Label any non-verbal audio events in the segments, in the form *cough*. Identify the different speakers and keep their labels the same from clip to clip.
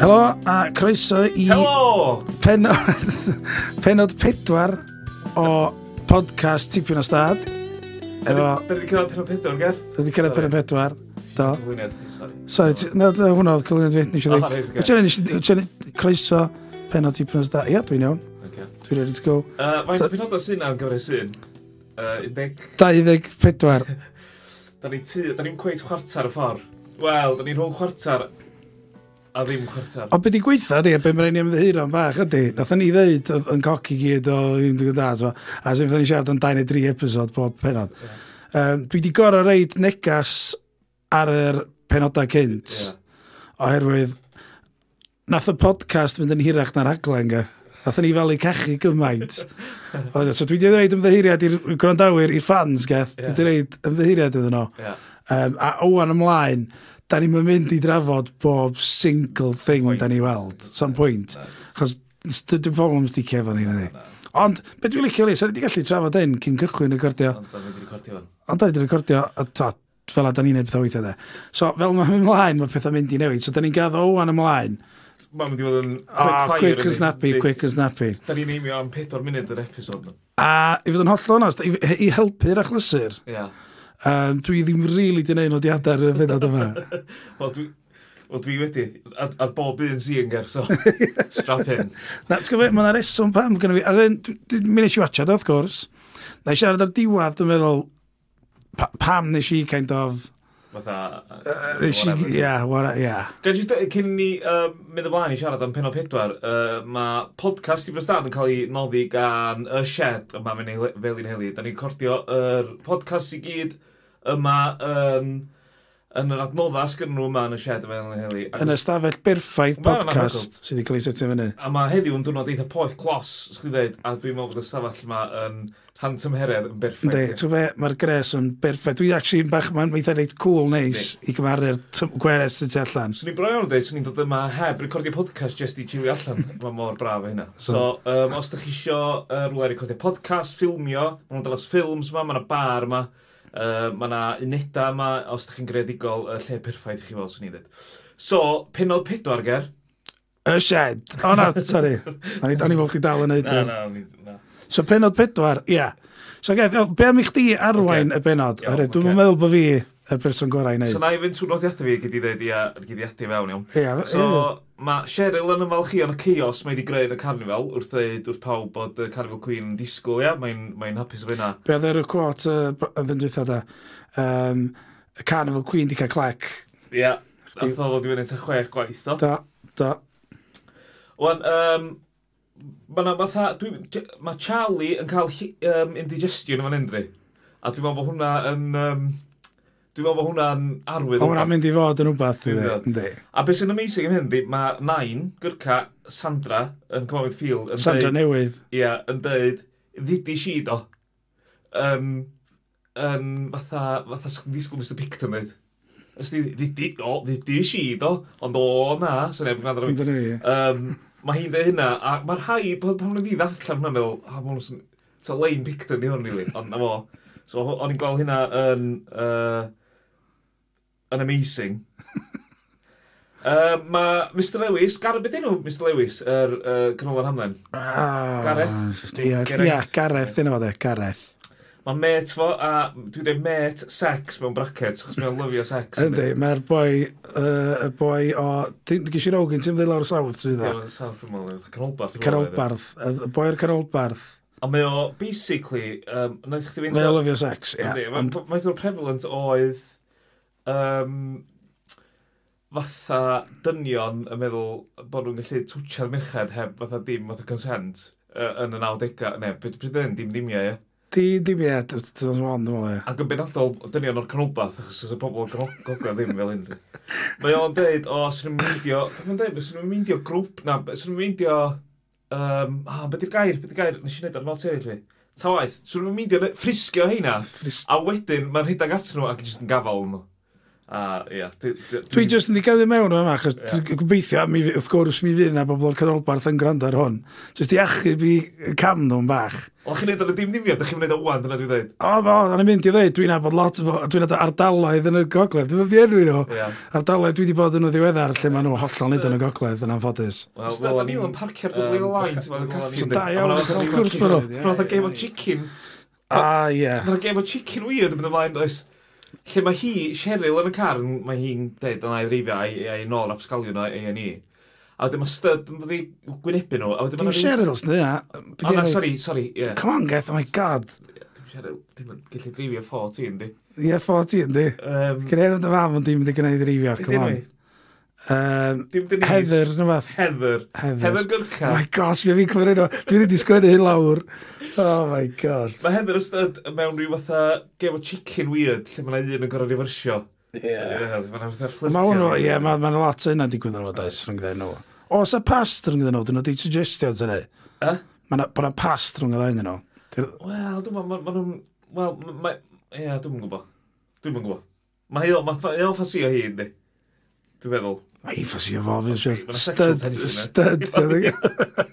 Speaker 1: Helo, a croeso i
Speaker 2: Helo!
Speaker 1: *laughs* penod, penod pedwar o podcast Tipyn o Stad. Efo,
Speaker 2: Da ni wedi cyrraedd penod pedwar, ger?
Speaker 1: dwi wedi cyrraedd penod pedwar. Do.
Speaker 2: Cyflwyniad, sori.
Speaker 1: Sorry, ti- na, na, hwnna oedd cyflwyniad fi, nes i
Speaker 2: O,
Speaker 1: ddweud.
Speaker 2: reit, ocê.
Speaker 1: Wyt ti'n neud- wyt ti'n neud croeso penod Tipyn o Stad. Ia, dwi'n iawn.
Speaker 2: Okay.
Speaker 1: Dwi'n ready to go.
Speaker 2: Uh, Mae'n
Speaker 1: So-
Speaker 2: penod o sy'n am gyfer y sy'n. Uh, 11.
Speaker 1: 24.
Speaker 2: Da ni tu, da ni'n cweith chwarter y ffordd. Wel, da ni rhwng chwarter a ddim chwarter.
Speaker 1: O, be di gweitha di, be mae'n rhaid i ymddiheuro'n fach ydi. Nath ni ddeud oedd- yn coc i gyd o 11 da, t'mo? a sef ni siarad yn 2 neu 3 episod pob penod. Um, dwi di gorau reid negas ar yr penodau cynt,
Speaker 2: Ie.
Speaker 1: oherwydd nath y podcast fynd yn hirach na'r aglen, ga. Nath ni falu cachu
Speaker 2: *laughs*
Speaker 1: gymaint. Oedd- e, so dwi di reid ymddeheiriad i'r gwrandawyr, i'r fans, ga. Dwi di
Speaker 2: Ie.
Speaker 1: reid ymddeheiriad iddyn nhw.
Speaker 2: Ie.
Speaker 1: Um, a owan ymlaen, da ni'n mynd i drafod bob single thing
Speaker 2: point.
Speaker 1: da ni weld. Some point.
Speaker 2: Na,
Speaker 1: Chos dwi'n problem sticio efo ni,
Speaker 2: na,
Speaker 1: nid i.
Speaker 2: na.
Speaker 1: Ond, be dwi'n licio li, sa'n wedi gallu trafod hyn cyn cychwyn y gordio.
Speaker 2: Ond da ni wedi recordio fan.
Speaker 1: Ond da ni wedi recordio, a ta, fel a da ni'n neud pethau weithiau de. So, fel mae'n mynd ymlaen, mae pethau mynd i newid. So, da ni'n gaddo owan ymlaen.
Speaker 2: Mae'n mynd i fod yn
Speaker 1: O,
Speaker 2: quick Ah, fire.
Speaker 1: quick and
Speaker 2: yndi?
Speaker 1: snappy,
Speaker 2: Di-
Speaker 1: quick and snappy.
Speaker 2: Da ni'n eimio am 4 munud yr episod. ma.
Speaker 1: A, i fod yn holl onast, i, i helpu'r achlysur,
Speaker 2: Ie.
Speaker 1: um, dwi ddim rili really di neud nodiadau ar y fynod yma.
Speaker 2: Wel, dwi... Wel, dwi wedi. Ar ar bob un sy'n ger, so.
Speaker 1: *laughs*
Speaker 2: Strap in.
Speaker 1: Na, ti'n gwybod, mae yna reswm pam gyda fi. A dyn, mi nes i watchad, wrth gwrs. Na i siarad ar diwad, dwi'n meddwl, pa- pam nes i kind of...
Speaker 2: Fatha...
Speaker 1: uh, Nes i,
Speaker 2: whatever.
Speaker 1: ia, wara, ia.
Speaker 2: Gan jyst, yy, cyn ni uh, mynd ymlaen i siarad am penod pedwar, uh, mae podcast i Brystad yn cael ei noddi gan y shed yma fe'n felin heli. Da ni'n cordio yr podcast i gyd yma yn, yn yr adnodda sgyn nhw yma yn y shed yma felin heli.
Speaker 1: Yn ystafell berffaith
Speaker 2: Ma' hwnna'n
Speaker 1: podcast sydd wedi cael ei setio fyny.
Speaker 2: A mae heddiw yn dwrnod eitha poeth clos, sgwyd dweud, a dwi'n meddwl bod y stafell yma yn rhan tymheredd yn berffaith.
Speaker 1: Ynddi, ti'n gwybod, mae'r gres yn berffaith. Dwi'n actually yn bach, mae'n eitha reit cool, neis, i gymaru'r tym- gweres sydd tu allan.
Speaker 2: Swn i'n brau iawn dweud, swn i'n dod yma heb recordio podcast just i chili *laughs* allan. Mae mor braf hynna. So, um, os ydych chi isio uh, rhywle recordio podcast, ffilmio, mae nhw'n dangos ffilms yma, mae yna bar yma, uh, mae yna uneda yma, os ydych chi'n greadigol, uh, lle perffaith i chi fel, swn i'n dweud. So, penod pedwar ger.
Speaker 1: Y shed. O na, sori. O'n i o'n i fod chi dal yn neud.
Speaker 2: Na,
Speaker 1: hyn.
Speaker 2: na, ni- na.
Speaker 1: So penod pedwar, ia. So gaeth, o, be am i chdi arwain y benod?
Speaker 2: Iawn,
Speaker 1: Oherwydd,
Speaker 2: ocê.
Speaker 1: Dwi'n meddwl bod fi y person gorau i
Speaker 2: So,
Speaker 1: wneud.
Speaker 2: na i fynd trwy nodiadau fi, gyd i ddweud, ia, gyd i ati fewn iawn.
Speaker 1: Ia,
Speaker 2: So, mae Cheryl yn ymwel chi yn y chaos mae wedi greu yn y carnifal wrth ddeud wrth pawb bod y Carnival Queen yn disgwyl, ia? Mae'n mae hapus o fyna.
Speaker 1: Be oedd yr quote yy, br- yn fynd dwytho da? Um, y Carnival Queen di cael clac.
Speaker 2: Ia. Ath o fod i fyny ta chwech gwaith, o.
Speaker 1: Da, da.
Speaker 2: Wan, um, mae na fatha, dwi- j- mae Charlie yn cael hi- yym, indigestion yma'n endri. A dwi'n meddwl bod hwnna yn, um, dwi'n meddwl bod hwnna'n arwydd.
Speaker 1: O,
Speaker 2: o
Speaker 1: hwnna'n
Speaker 2: rywbeth.
Speaker 1: mynd i fod yn rhywbeth, dwi
Speaker 2: Dwi'n
Speaker 1: dde.
Speaker 2: A beth sy'n amazing yn hyn, mae Nain, Gyrca, Sandra, yn Cymru Field, yn
Speaker 1: Sandra
Speaker 2: deud,
Speaker 1: Newydd.
Speaker 2: ia, yn deud, ddidi si do. Um, um, fatha, fatha sy'n disgwyl Mr Picton dweud. Ysdi, ddidi, o, ddidi si do, ond o na, sy'n neb yn gwrando ar fi.
Speaker 1: Dwi'n dweud fi.
Speaker 2: Um, mae hi'n dweud hynna, a mae'r rhai, pan pan nhw wedi ddarllen hwnna, meddwl, a mae'n nhw'n... Ta Lane Picton di hwn, really, ond na fo. So, ho- o'n i'n gweld hynna yn... Uh, yn amazing. Uh, mae Mr Lewis, Gareth, beth enw Mr Lewis, yr er, uh, canolfan Hamlen?
Speaker 1: Ah,
Speaker 2: Gareth.
Speaker 1: Ia,
Speaker 2: Gareth.
Speaker 1: ia, Gareth, dyna fo de, Gareth.
Speaker 2: Mae met fo, a dwi'n dweud met sex mewn brackets, chos mae'n lyfio sex.
Speaker 1: Yndi, mae'r boi, yy, y boi o... Gys i rogyn, ti'n ddweud lawr y sawdd, dwi'n dda.
Speaker 2: Dwi'n south yn mynd, canolbarth. dwi'n meddwl, oedd
Speaker 1: Canolbarth,
Speaker 2: e.
Speaker 1: y- y boi o'r canolbarth.
Speaker 2: A mae o, basically, um, wnaeth chdi fynd...
Speaker 1: Mae o lyfio sex, ia.
Speaker 2: Yndi,
Speaker 1: Ond
Speaker 2: Mae mae'n prevalent oedd um, fatha dynion yn meddwl bod nhw'n gallu twtio'r merched heb fatha dim fatha consent uh, yn y 90au. Ne, pryd pryd yn dim dimiau, ie.
Speaker 1: Di, di mi e, dwi'n wan, dwi'n meddwl, ia.
Speaker 2: Ac yn benodol, dynion o'r canolbath, achos oes y bobl yn gro- gogledd ddim fel hyn. Mae o'n deud, o, sy'n nhw'n meindio, beth mae'n deud, sy'n nhw'n meindio grŵp, na, sy'n nhw'n meindio, um, ah, beth i'r gair, beth i'r gair, nes i wneud ar fel sefyll fi. Ta waith, sy'n nhw'n meindio, ffrisgio heina.
Speaker 1: Ffrist-
Speaker 2: A wedyn, mae'n rhedeg at nhw ac yn jyst yn gafal nhw. A, ia. Dwi, dwi,
Speaker 1: Dwi just yn digeddu mewn yma, achos yeah. gobeithio, mi, f- wrth gwrs mi fydd na bobl o'r canolbarth yn gwrando ar hwn. Just i achub i cam nhw'n bach.
Speaker 2: Wel, chi'n neud ar y dim nifio, dych chi'n neud o wan, dyna dwi'n dweud.
Speaker 1: O, o, o'n i'n mynd i ddweud, dwi'n abod lot, o- dwi'n abod ardaloedd yn y gogledd. Dwi'n fyddi enw nhw.
Speaker 2: Ia.
Speaker 1: Ardaloedd dwi wedi bod yn y ddiweddar lle maen nhw hollol nid yn y gogledd yn anffodus.
Speaker 2: Wel,
Speaker 3: Ystad,
Speaker 2: fel
Speaker 3: da ni
Speaker 2: ni'n
Speaker 3: yn
Speaker 2: parcio'r
Speaker 3: yym,
Speaker 2: dwy lain,
Speaker 3: bach-
Speaker 2: ti'n meddwl,
Speaker 3: bach-
Speaker 2: caffi.
Speaker 1: So
Speaker 2: yndi?
Speaker 1: da
Speaker 2: A
Speaker 1: iawn,
Speaker 2: ma' 'na-
Speaker 1: wrth gwrs maen nhw.
Speaker 3: Ie,
Speaker 2: Roedd y
Speaker 3: ie,
Speaker 2: game o
Speaker 3: ie.
Speaker 2: chicken,
Speaker 1: A ie.
Speaker 2: mae'r game o chicken weird yn mynd ymlaen, does? Lle mae hi, Cheryl yn y car, yn- mae hi'n deud yna i ddrifio a'i a'i nôl absgalion a'i a'i ni. A wedyn mae stud yn dod i gwynebu nhw. A wedyn
Speaker 1: Dwi'n
Speaker 2: ma' 'na ryw-
Speaker 1: Cheryls neu
Speaker 2: O na,
Speaker 1: na.
Speaker 2: sori, sori, ie.
Speaker 1: Come on, Geth, oh my god.
Speaker 2: Dim Cheryl, dim yn gallu drifio 14, di.
Speaker 1: Ie, 14, di.
Speaker 2: Yym,
Speaker 1: Gynna'r yn dy fam yn dim wedi gwneud rifio,
Speaker 2: be'
Speaker 1: come
Speaker 2: di
Speaker 1: on.
Speaker 2: enw hi?
Speaker 1: Um,
Speaker 2: Dim Denise.
Speaker 1: Heather, neu fath.
Speaker 2: Heather.
Speaker 1: Heather.
Speaker 2: Heather
Speaker 1: Oh
Speaker 2: Gyrca.
Speaker 1: my gosh, fi fi'n cyfri nhw. Dwi wedi sgwennu hyn lawr. Oh my god.
Speaker 2: Mae Heather ystod mewn rhyw fatha game o chicken weird, lle mae yna un yn gorau refersio.
Speaker 3: Ie.
Speaker 2: Ie, Mae yna fatha
Speaker 1: Mae hwnnw,
Speaker 2: fflirtio.
Speaker 1: ie, mae'n ma 'na lot o hynna digwydd yn o'r dais rhwng ddyn nhw. O, sa past rhwng ddyn nhw, dyn nhw wedi suggestio at hynny.
Speaker 2: Yy?
Speaker 1: Mae yna past rhwng y ddyn nhw. Dy'r-
Speaker 2: Wel, dwi'n meddwl, mae nhw'n... Wel, mae... Ie, dwi'n yn gwybod. Dwi'n yn gwybod. Mae hi o- ma' ffa- mae o'n ffasio hi, yndi. Dwi'n meddwl.
Speaker 1: Mae hi ffas i efo, fi'n
Speaker 2: Ma'
Speaker 1: siŵr.
Speaker 2: na sexual
Speaker 1: Stud,
Speaker 2: tension,
Speaker 1: stud.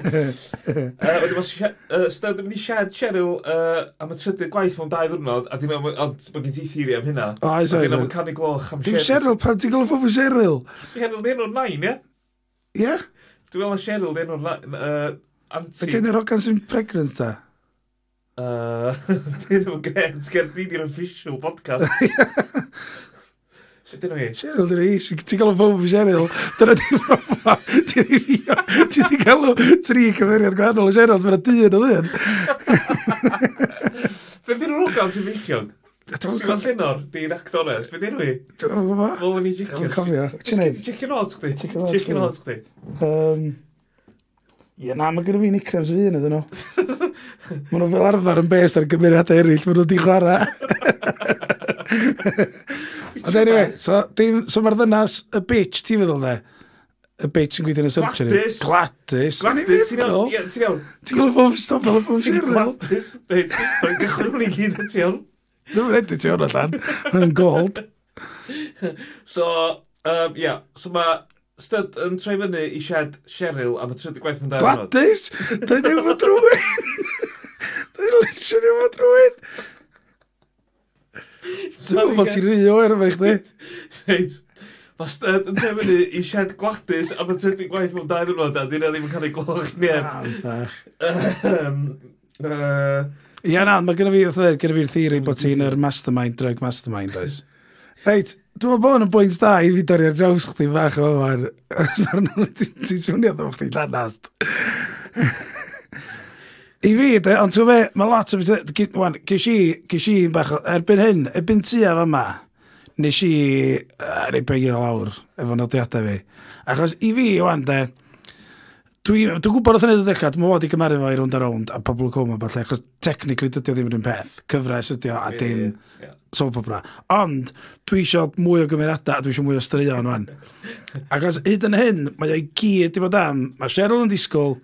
Speaker 2: Yy, Wedyn mae Stud yn mynd i siarad Cheryl yy, am y trydydd gwaith mewn dau ddwrnod, a dwi'n meddwl, ond mae gen ti theori am hynna.
Speaker 1: O, oes,
Speaker 2: Dwi'n
Speaker 1: oes,
Speaker 2: meddwl
Speaker 1: oes.
Speaker 2: canu gloch am
Speaker 1: Dim
Speaker 2: Cheryl.
Speaker 1: Cheryl, pan ti'n gweld pobl Cheryl?
Speaker 2: Cheryl, di enw'r nain, ie?
Speaker 1: Ie?
Speaker 2: Dwi'n meddwl na Cheryl, di enw'r nain. yy,
Speaker 1: Da
Speaker 2: Auntie.
Speaker 1: gen i'r hogan sy'n pregnant da.
Speaker 2: Uh, *laughs* Dyn nhw'n gret, gen ni di'r official podcast. Dyn nhw i.
Speaker 1: Cheryl, dyn ni, ti'n gael o bob Cheryl, dyna di brofa, ti'n i fi, ti'n di gael o tri cyfeiriad gwahanol o Cheryl, dyna dyn o ddyn.
Speaker 2: Fe dyn nhw'n ogan sy'n feichiog?
Speaker 1: Dwi'n
Speaker 2: Siwan Llenor, di'r actores. Fe dyn nhw i.
Speaker 1: gwybod,
Speaker 2: Wel, ni
Speaker 1: dwi'n
Speaker 2: jicio.
Speaker 1: cofio. Ti'n neud?
Speaker 2: Chicken oats, chdi.
Speaker 1: Chicken odds,
Speaker 2: Chicken
Speaker 1: ie.
Speaker 2: oats, chdi.
Speaker 1: Um, Ie, na, mae gen i fi nicrefs fi yn ydyn nhw. Mae nhw fel arfer yn best ar gymeriadau eraill, mae nhw di chwarae. Ond anyway, so, dim- so mae'r ddynas, y bitch, ti'n feddwl de? Y bitch yn gweithio yn y search engine.
Speaker 2: Gladys.
Speaker 1: Gladys.
Speaker 2: Gladys, ti'n iawn?
Speaker 1: Gladys.
Speaker 2: Ie, ti'n iawn?
Speaker 1: Ti'n gwybod pob stop fel y pob Cheryl?
Speaker 2: Gladys. Reit, mae'n gychwyn hwn i gyd at iawn.
Speaker 1: Dwi'n edrych ti hwnna allan. Mae'n gold.
Speaker 2: *laughs* So, yym, ie. So mae Stud yn troi fyny i siad Cheryl am y trydydd gwaith mynd ar hwnnw.
Speaker 1: Gladys! Dwi'n ei fod rhywun! *laughs* Dwi'n lisio ni fod rhywun! Dwi'n meddwl bod ti'n rhi o erfa i chdi.
Speaker 2: Reit. Mae Stud yn trefnu i siad gladys am y trydydd gwaith mewn dau ddwrnod a dyna ddim yn cael ei gloch Ehm, neb. Yym, yy,
Speaker 1: Ia na, mae gynnu fi wrth ddweud, gynnu fi'r theori bod ti'n yr mastermind, drug mastermind, oes. Reit, dwi'n meddwl bod hwn yn bwynt da i fi dorri ar draws chdi fach o fan. Mae'r nhw ti'n swnio ddim chdi danast. I fi, de, ond ti'n meddwl, mae lot o beth... gy- Wan, ges i, ges i bach o... Erbyn hyn, erbyn tua fama, nes i uh, rei pegin lawr efo nodiadau fi. Achos i fi, wan, de, Dwi'n dwi gwybod oedd hynny'n ddechrau, dwi'n modd i gymaru fo i rownd a rownd a pobl coma falle, achos technically dydy o ddim yr un peth, cyfres ydy o a dim
Speaker 2: ie.
Speaker 1: soap opera. Ond dwi eisiau mwy o gymeriadau a dwi eisiau mwy o straeon fan. Achos hyd yn hyn, mae o'i gyd i bod am, mae Cheryl yn disgwyl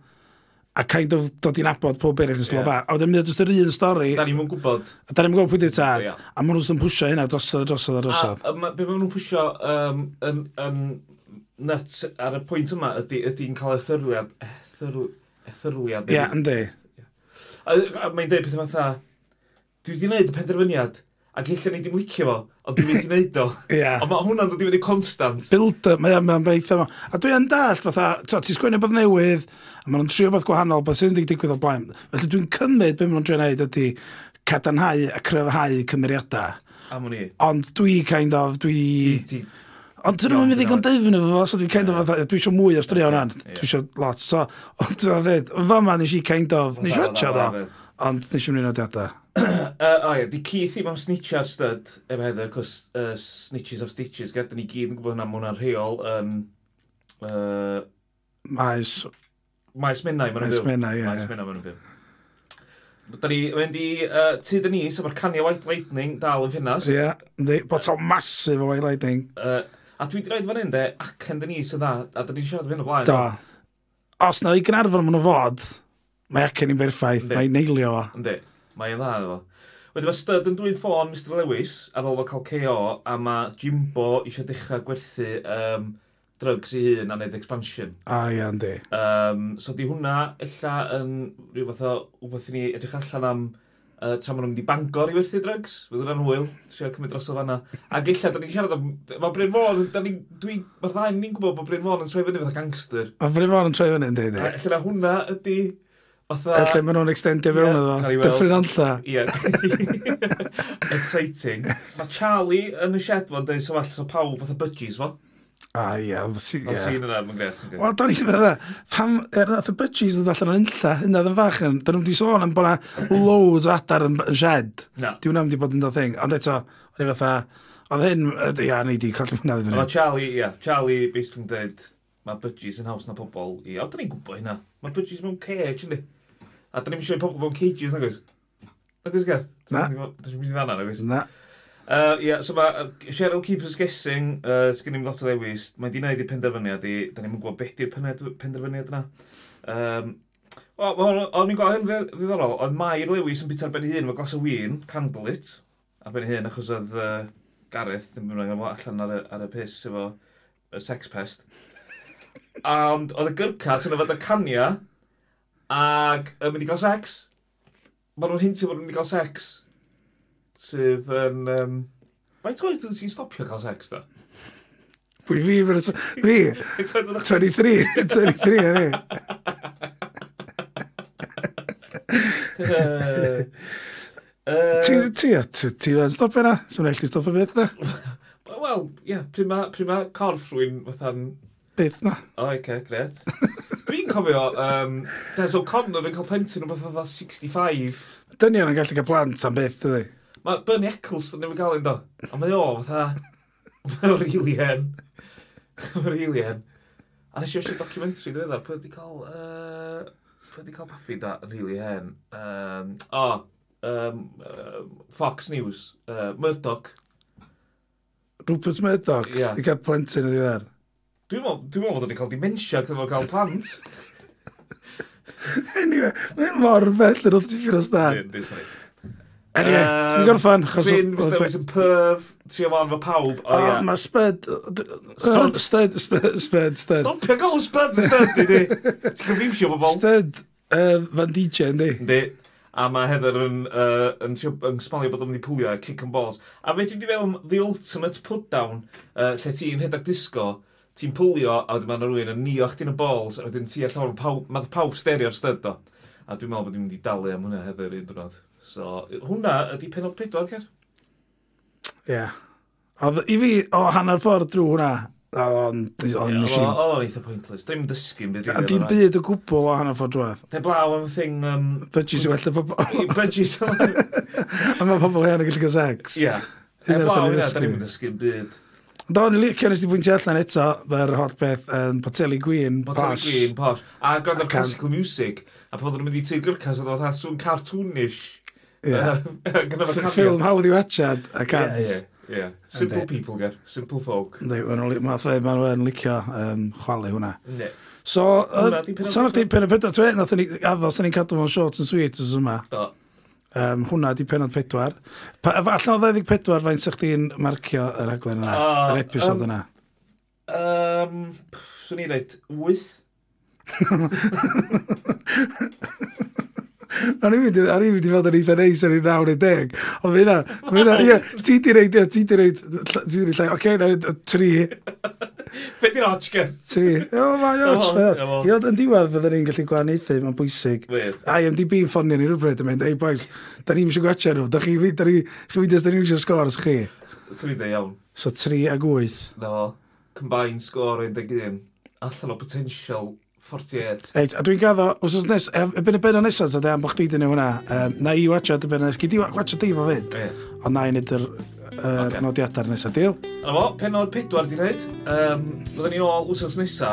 Speaker 1: a kind of dod i'n abod pob eraill yn sloba. A wedyn mynd o jyst yr un stori,
Speaker 2: Da ni'n mwyn gwybod.
Speaker 1: a da ni'n gwybod pwy di'r tad,
Speaker 2: Ie.
Speaker 1: a maen nhw'n jyst yn pwysio hynna drosodd a drosodd a
Speaker 2: A
Speaker 1: drosodd.
Speaker 2: yy, ma- be maen nhw'n pwysio yym, yn yn nuts ar y pwynt yma ydy- ydy'n cael ethyrliad. ethyrl- Ethyrliad.
Speaker 1: Ie, yndi.
Speaker 2: A, a mae'n dweud pethau fatha, dwi wedi gwneud y penderfyniad, ac illa ni ddim licio fo, ond dwi wedi gwneud
Speaker 1: *laughs*
Speaker 2: o.
Speaker 1: Ie.
Speaker 2: Ond mae hwnna'n dod i fyny constant.
Speaker 1: build-up, mae o'n beth yma. A dwi yn dallt, fatha, t'o, ti'n sgwennu bod newydd, a maen nhw'n trio bod gwahanol, bod sy'n dig- digwydd o blaen. Felly dwi'n cymryd beth maen nhw'n trio wneud ydy cadarnhau a cryfhau cymeriadau.
Speaker 2: Am hwn i.
Speaker 1: Ond dwi kind of,
Speaker 2: Ti,
Speaker 1: dwi...
Speaker 2: ti.
Speaker 1: Ond dyn nhw'n mynd i
Speaker 2: iawn.
Speaker 1: gondefn efo fo, so dwi kind of, fatha, dwi eisiau mwy o straeon hwn.
Speaker 2: Ocê, ie.
Speaker 1: Dwi eisiau lot. So, ond dwi'n dweud, fa ma nes i kind of, nes i watcha do, ond nes i'n mynd i nodiadau.
Speaker 2: Uh, o ie, di key theme am snitch ar stud, efo heddau, cos uh, snitches of stitches, gyda ni gyd yn gwybod hwnna, mae hwnna'n rheol. Um, uh,
Speaker 1: Maes,
Speaker 2: Maes Menai, mae'n
Speaker 1: maes
Speaker 2: byw.
Speaker 1: mena, ie.
Speaker 2: Maes
Speaker 1: ie.
Speaker 2: Menai, mae'n byw. Da ni, mae'n di, uh, tyd yn ni, so mae'r canio White Lightning dal yn ffinas.
Speaker 1: Ie, yndi. botol masif o White Lightning.
Speaker 2: Uh, a dwi wedi rhaid fan hyn, de, ac yn Denise yn dda, a da ni'n siarad am hyn o blaen.
Speaker 1: Do. Os na i Gynarfon maen nhw fod, mae acen i'n berffaith,
Speaker 2: Yndi.
Speaker 1: mae i'n neilio o.
Speaker 2: Yndi, mae'n dda efo. Wedyn mae Stud yn dwy'n ffôn Mr Lewis ar ôl fo cael KO a mae Jimbo eisiau dechrau gwerthu um, drugs i hun a wneud expansion.
Speaker 1: A ia, yndi.
Speaker 2: Um, so di hwnna illa yn rhyw fath o wbeth i ni edrych allan am uh, tra maen nhw'n mynd i bangor i werthu drugs. Fydd hwnna'n hwyl, trio cymryd dros o fanna. Ac illa, da ni'n siarad am... Mae Bryn Môn, da ni... Dwi... Mae'r ddau ni'n gwybod bod Bryn Môn yn troi fyny fatha gangster.
Speaker 1: A fyrdd mor yn troi fyny, yndi,
Speaker 2: A
Speaker 1: yndi.
Speaker 2: illa na hwnna ydi... Fatha...
Speaker 1: Felly maen nhw'n extendio
Speaker 2: Ie,
Speaker 1: fewn iddo.
Speaker 2: cael ei weld.
Speaker 1: Dyffryn antha.
Speaker 2: Ie. *laughs* Exciting. Mae Charlie yn y shed fo'n dweud sefall so pawb fatha budgies fo.
Speaker 1: A ia, si-
Speaker 2: Ond
Speaker 1: ie.
Speaker 2: sy'n yna, mae'n gres. yn gwir.
Speaker 1: Wel, do'n i'n meddwl, pam er nath y budgies ddod allan o'n unlla, hynna oedd yn fach yn, dyn nhw'n di sôn am bod na loads o adar yn, yn shed.
Speaker 2: Na.
Speaker 1: Di hwnna wedi bod yn dod thing, ond eto, o'n i fatha, oedd hyn, yy, ia, ni di colli hwnna ddim
Speaker 2: Mae
Speaker 1: yn
Speaker 2: Charlie, ie. Charlie basically yn dweud, mae budgies yn haws na pobl i... O, da ni'n gwybod hynna. Mae budgies mewn cage, ynddi. A da ni'n siarad pobl mewn cages, nag oes? Nag oes, Ger?
Speaker 1: Na.
Speaker 2: Da ni'n mynd i fanna, nag oes?
Speaker 1: Na,
Speaker 2: Uh, yeah, so mae uh, Cheryl Keeper's Guessing, uh, sgyn i'n lot o ddewis, mae di wneud i penderfyniad i, da ni'n gwybod beth di'r pened- penderfyniad yna. Um, Wel, wel, o'n i'n gweld hyn ddi- ddiddorol, oedd Mair Lewis yn bita'r ben ei hun efo glas o win, candlelit, ar ben ei hun, achos oedd uh, Gareth, ddim yn rhaid allan ar y, ar y piss efo y sex pest. A ond oedd y gyrcat yn yfod y cania, ac yn mynd i gael sex. Mae nhw'n hintio bod nhw'n mynd i gael sex. Sydd yn... Um, Faint oed wyt ti'n stopio cael sex, da?
Speaker 1: pwy fi, fyr- fi,
Speaker 2: Faint oed *laughs* oedd
Speaker 1: 23, *laughs* 23, o'n i.
Speaker 2: y-
Speaker 1: Ti,
Speaker 2: Yy,
Speaker 1: ti, ti, ti yn stopio na, sy'n mynd eich stopio beth na,
Speaker 2: Wel, ie, pryd ma- pryd ma corff rwy'n fatha'n
Speaker 1: beth na.
Speaker 2: O, oh, okay, *laughs* gret. Dwi'n cofio, um, Des O'Connor yn cael plentyn o beth oedd o 65.
Speaker 1: Dynion yn gallu cael plant am beth, ydy.
Speaker 2: Mae Bernie Eccleston yn gael un do. A mae o, fatha, *laughs* mae o'r rili hen. Mae o'r rili hen. A nes i eisiau documentary dwi'n dweud, pwy wedi cael, uh, pwy wedi cael papi da yn rili hen. Um, o, um, um, Fox News, uh, Murdoch.
Speaker 1: Rupert Murdoch,
Speaker 2: Ie.
Speaker 1: i cael plentyn ydi ddiwedd.
Speaker 2: Dwi'n meddwl dwi meddwl bod o'n cael dementia gyda fo'n cael plant.
Speaker 1: Anyway, mae'n mor bell yn oedd ti'n ffyr o stad.
Speaker 2: Dwi'n- dwi'n sori.
Speaker 1: Anyway,
Speaker 2: Yym,
Speaker 1: ti'n gorffan? achos-
Speaker 2: Ffyn,
Speaker 1: oedd-
Speaker 2: Mr Lewis yn perf, trio fan fo pawb. O
Speaker 1: Oh,
Speaker 2: ia.
Speaker 1: Mae Spud...
Speaker 2: Stud.
Speaker 1: Stud, stud, stud, stud. Stud,
Speaker 2: Stopio gael spud yn styd i di. Ti'n confusio bobl.
Speaker 1: stud yy, fan DJ, ynddi?
Speaker 2: Yndi. A mae Heather yn, uh, yn, trio, yn smalio bod o'n mynd i pwlio a kick and balls. A fe ti'n di fewn The Ultimate Putdown, uh, lle ti'n rhedeg disgo, ti'n pwlio a wedyn mae yna rhywun yn nio chdi'n y balls a wedyn ti a llawer yn pawb, mae pawb sterio'r styd o. A dwi'n meddwl bod i'n mynd i dalu am hwnna Heather un dwrnod. So, hwnna ydi penod pedwar, cer?
Speaker 1: Ie. Oedd i fi, o hanner ffordd drwy hwnna, o'n
Speaker 2: Ie,
Speaker 1: nes
Speaker 2: Oedd
Speaker 1: i...
Speaker 2: o- oedd o'n eitha pointless. Dwi'n dysgu'n byd.
Speaker 1: A
Speaker 2: rili
Speaker 1: dim
Speaker 2: fel 'na.
Speaker 1: byd o gwbl o hanner ffordd drwy'r.
Speaker 2: Neu blaw am y thing... Um,
Speaker 1: Budgies i wella *laughs* pobl.
Speaker 2: *laughs* budgies.
Speaker 1: A mae pobl hen yn gallu cael sex.
Speaker 2: Ie. Neu
Speaker 1: Hynna
Speaker 2: blaw
Speaker 1: wnaethon ni ddysgu.
Speaker 2: yna, da ni'n dysgu'n byd.
Speaker 1: Do, o'n i licio nes di bwyntio allan eto, mae'r hot beth yn Poteli Gwyn,
Speaker 2: Potel
Speaker 1: posh.
Speaker 2: Green, posh. A gwrando
Speaker 1: Ac
Speaker 2: ar
Speaker 1: am-
Speaker 2: classical music. A pan oedden nhw'n mynd i tŷ gyrcas, oedd o'n sŵn cartoonish. *laughs*
Speaker 1: Ie.
Speaker 2: Gyda fe
Speaker 1: F-
Speaker 2: cafio.
Speaker 1: Ffilm Hawdd i Watchad a
Speaker 2: Ie,
Speaker 1: Cans.
Speaker 2: ie, ie. Simple
Speaker 1: Yndi.
Speaker 2: people, ger. Simple folk.
Speaker 1: Mae'n yn licio yym, chwalu hwnna.
Speaker 2: Ne.
Speaker 1: So,
Speaker 2: Hwnna di penod
Speaker 1: son o'ch di penod pedwar, twe, nath ni addo, sy'n ni'n cadw fo'n short and sweet os yma.
Speaker 2: Do.
Speaker 1: Um, hwnna di penod pedwar. Pa, efo- allan o 24, faint sy'ch di'n marcio yr aglen yna,
Speaker 2: Ah,
Speaker 1: yr episod
Speaker 2: yym,
Speaker 1: yna.
Speaker 2: Um, swn i'n reid, wyth.
Speaker 1: O'n i'n mynd i, o'n i'n mynd i fod yn eitha neis yn ei naw neu deg. Ond fe na, fe na, ie, ti di reid, ie, ti di reid, ti di reid, llai, oce, na, yy, tri,
Speaker 2: Be di'n hodge, ger?
Speaker 1: tri. O, mae o,
Speaker 2: Come on,
Speaker 1: mae
Speaker 2: come
Speaker 1: o.
Speaker 2: on.
Speaker 1: Ie, ond yn diwedd fydden ni'n gallu gwahaniaethu, mae'n bwysig.
Speaker 2: Wyth.
Speaker 1: IMDb yn ffonio ni rhywbryd yn mynd, ei boys, da ni'n eisiau gwachio nhw, da chi fi, da ni, chi fi, da ni'n eisiau scores chi.
Speaker 2: Swn i'n dweud iawn.
Speaker 1: So 3 ag 8.
Speaker 2: Na fo. Combined score 11. Allan o potential 48.
Speaker 1: Reit, a dwi'n gaddo, os oes nes, ebyn y benod nesaf, ta ddean bod chdi dyn nhw hwnna, um, na i watcha dy benod nesaf, gyd i watcha di fo fyd,
Speaker 2: Ie.
Speaker 1: ond na i wneud yr uh,
Speaker 2: Ocê.
Speaker 1: okay. nodiadau nesaf, deal? *laughs*
Speaker 2: Dyna fo, penod pedwar di wneud. Um, Byddwn ni'n ôl wsos nesa,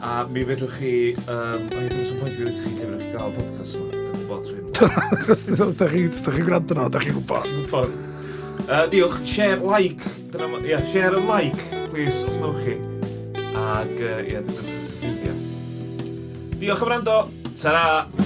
Speaker 2: a mi fedrwch chi... Um, o, dwi'n sy'n pwynt i fi ddweud i chi lle fedrwch chi gael y podcast yma. Dwi'n gwybod trwy'n
Speaker 1: Os da chi, os da chi gwrando no, da chi gwybod.
Speaker 2: gwybod. Uh, diolch, share, like. Dyna, ma- ie, share and like, please, os nawch chi. Ac, yy, ie, uh, yeah, dwi'n Diolch am rando. Ta-ra!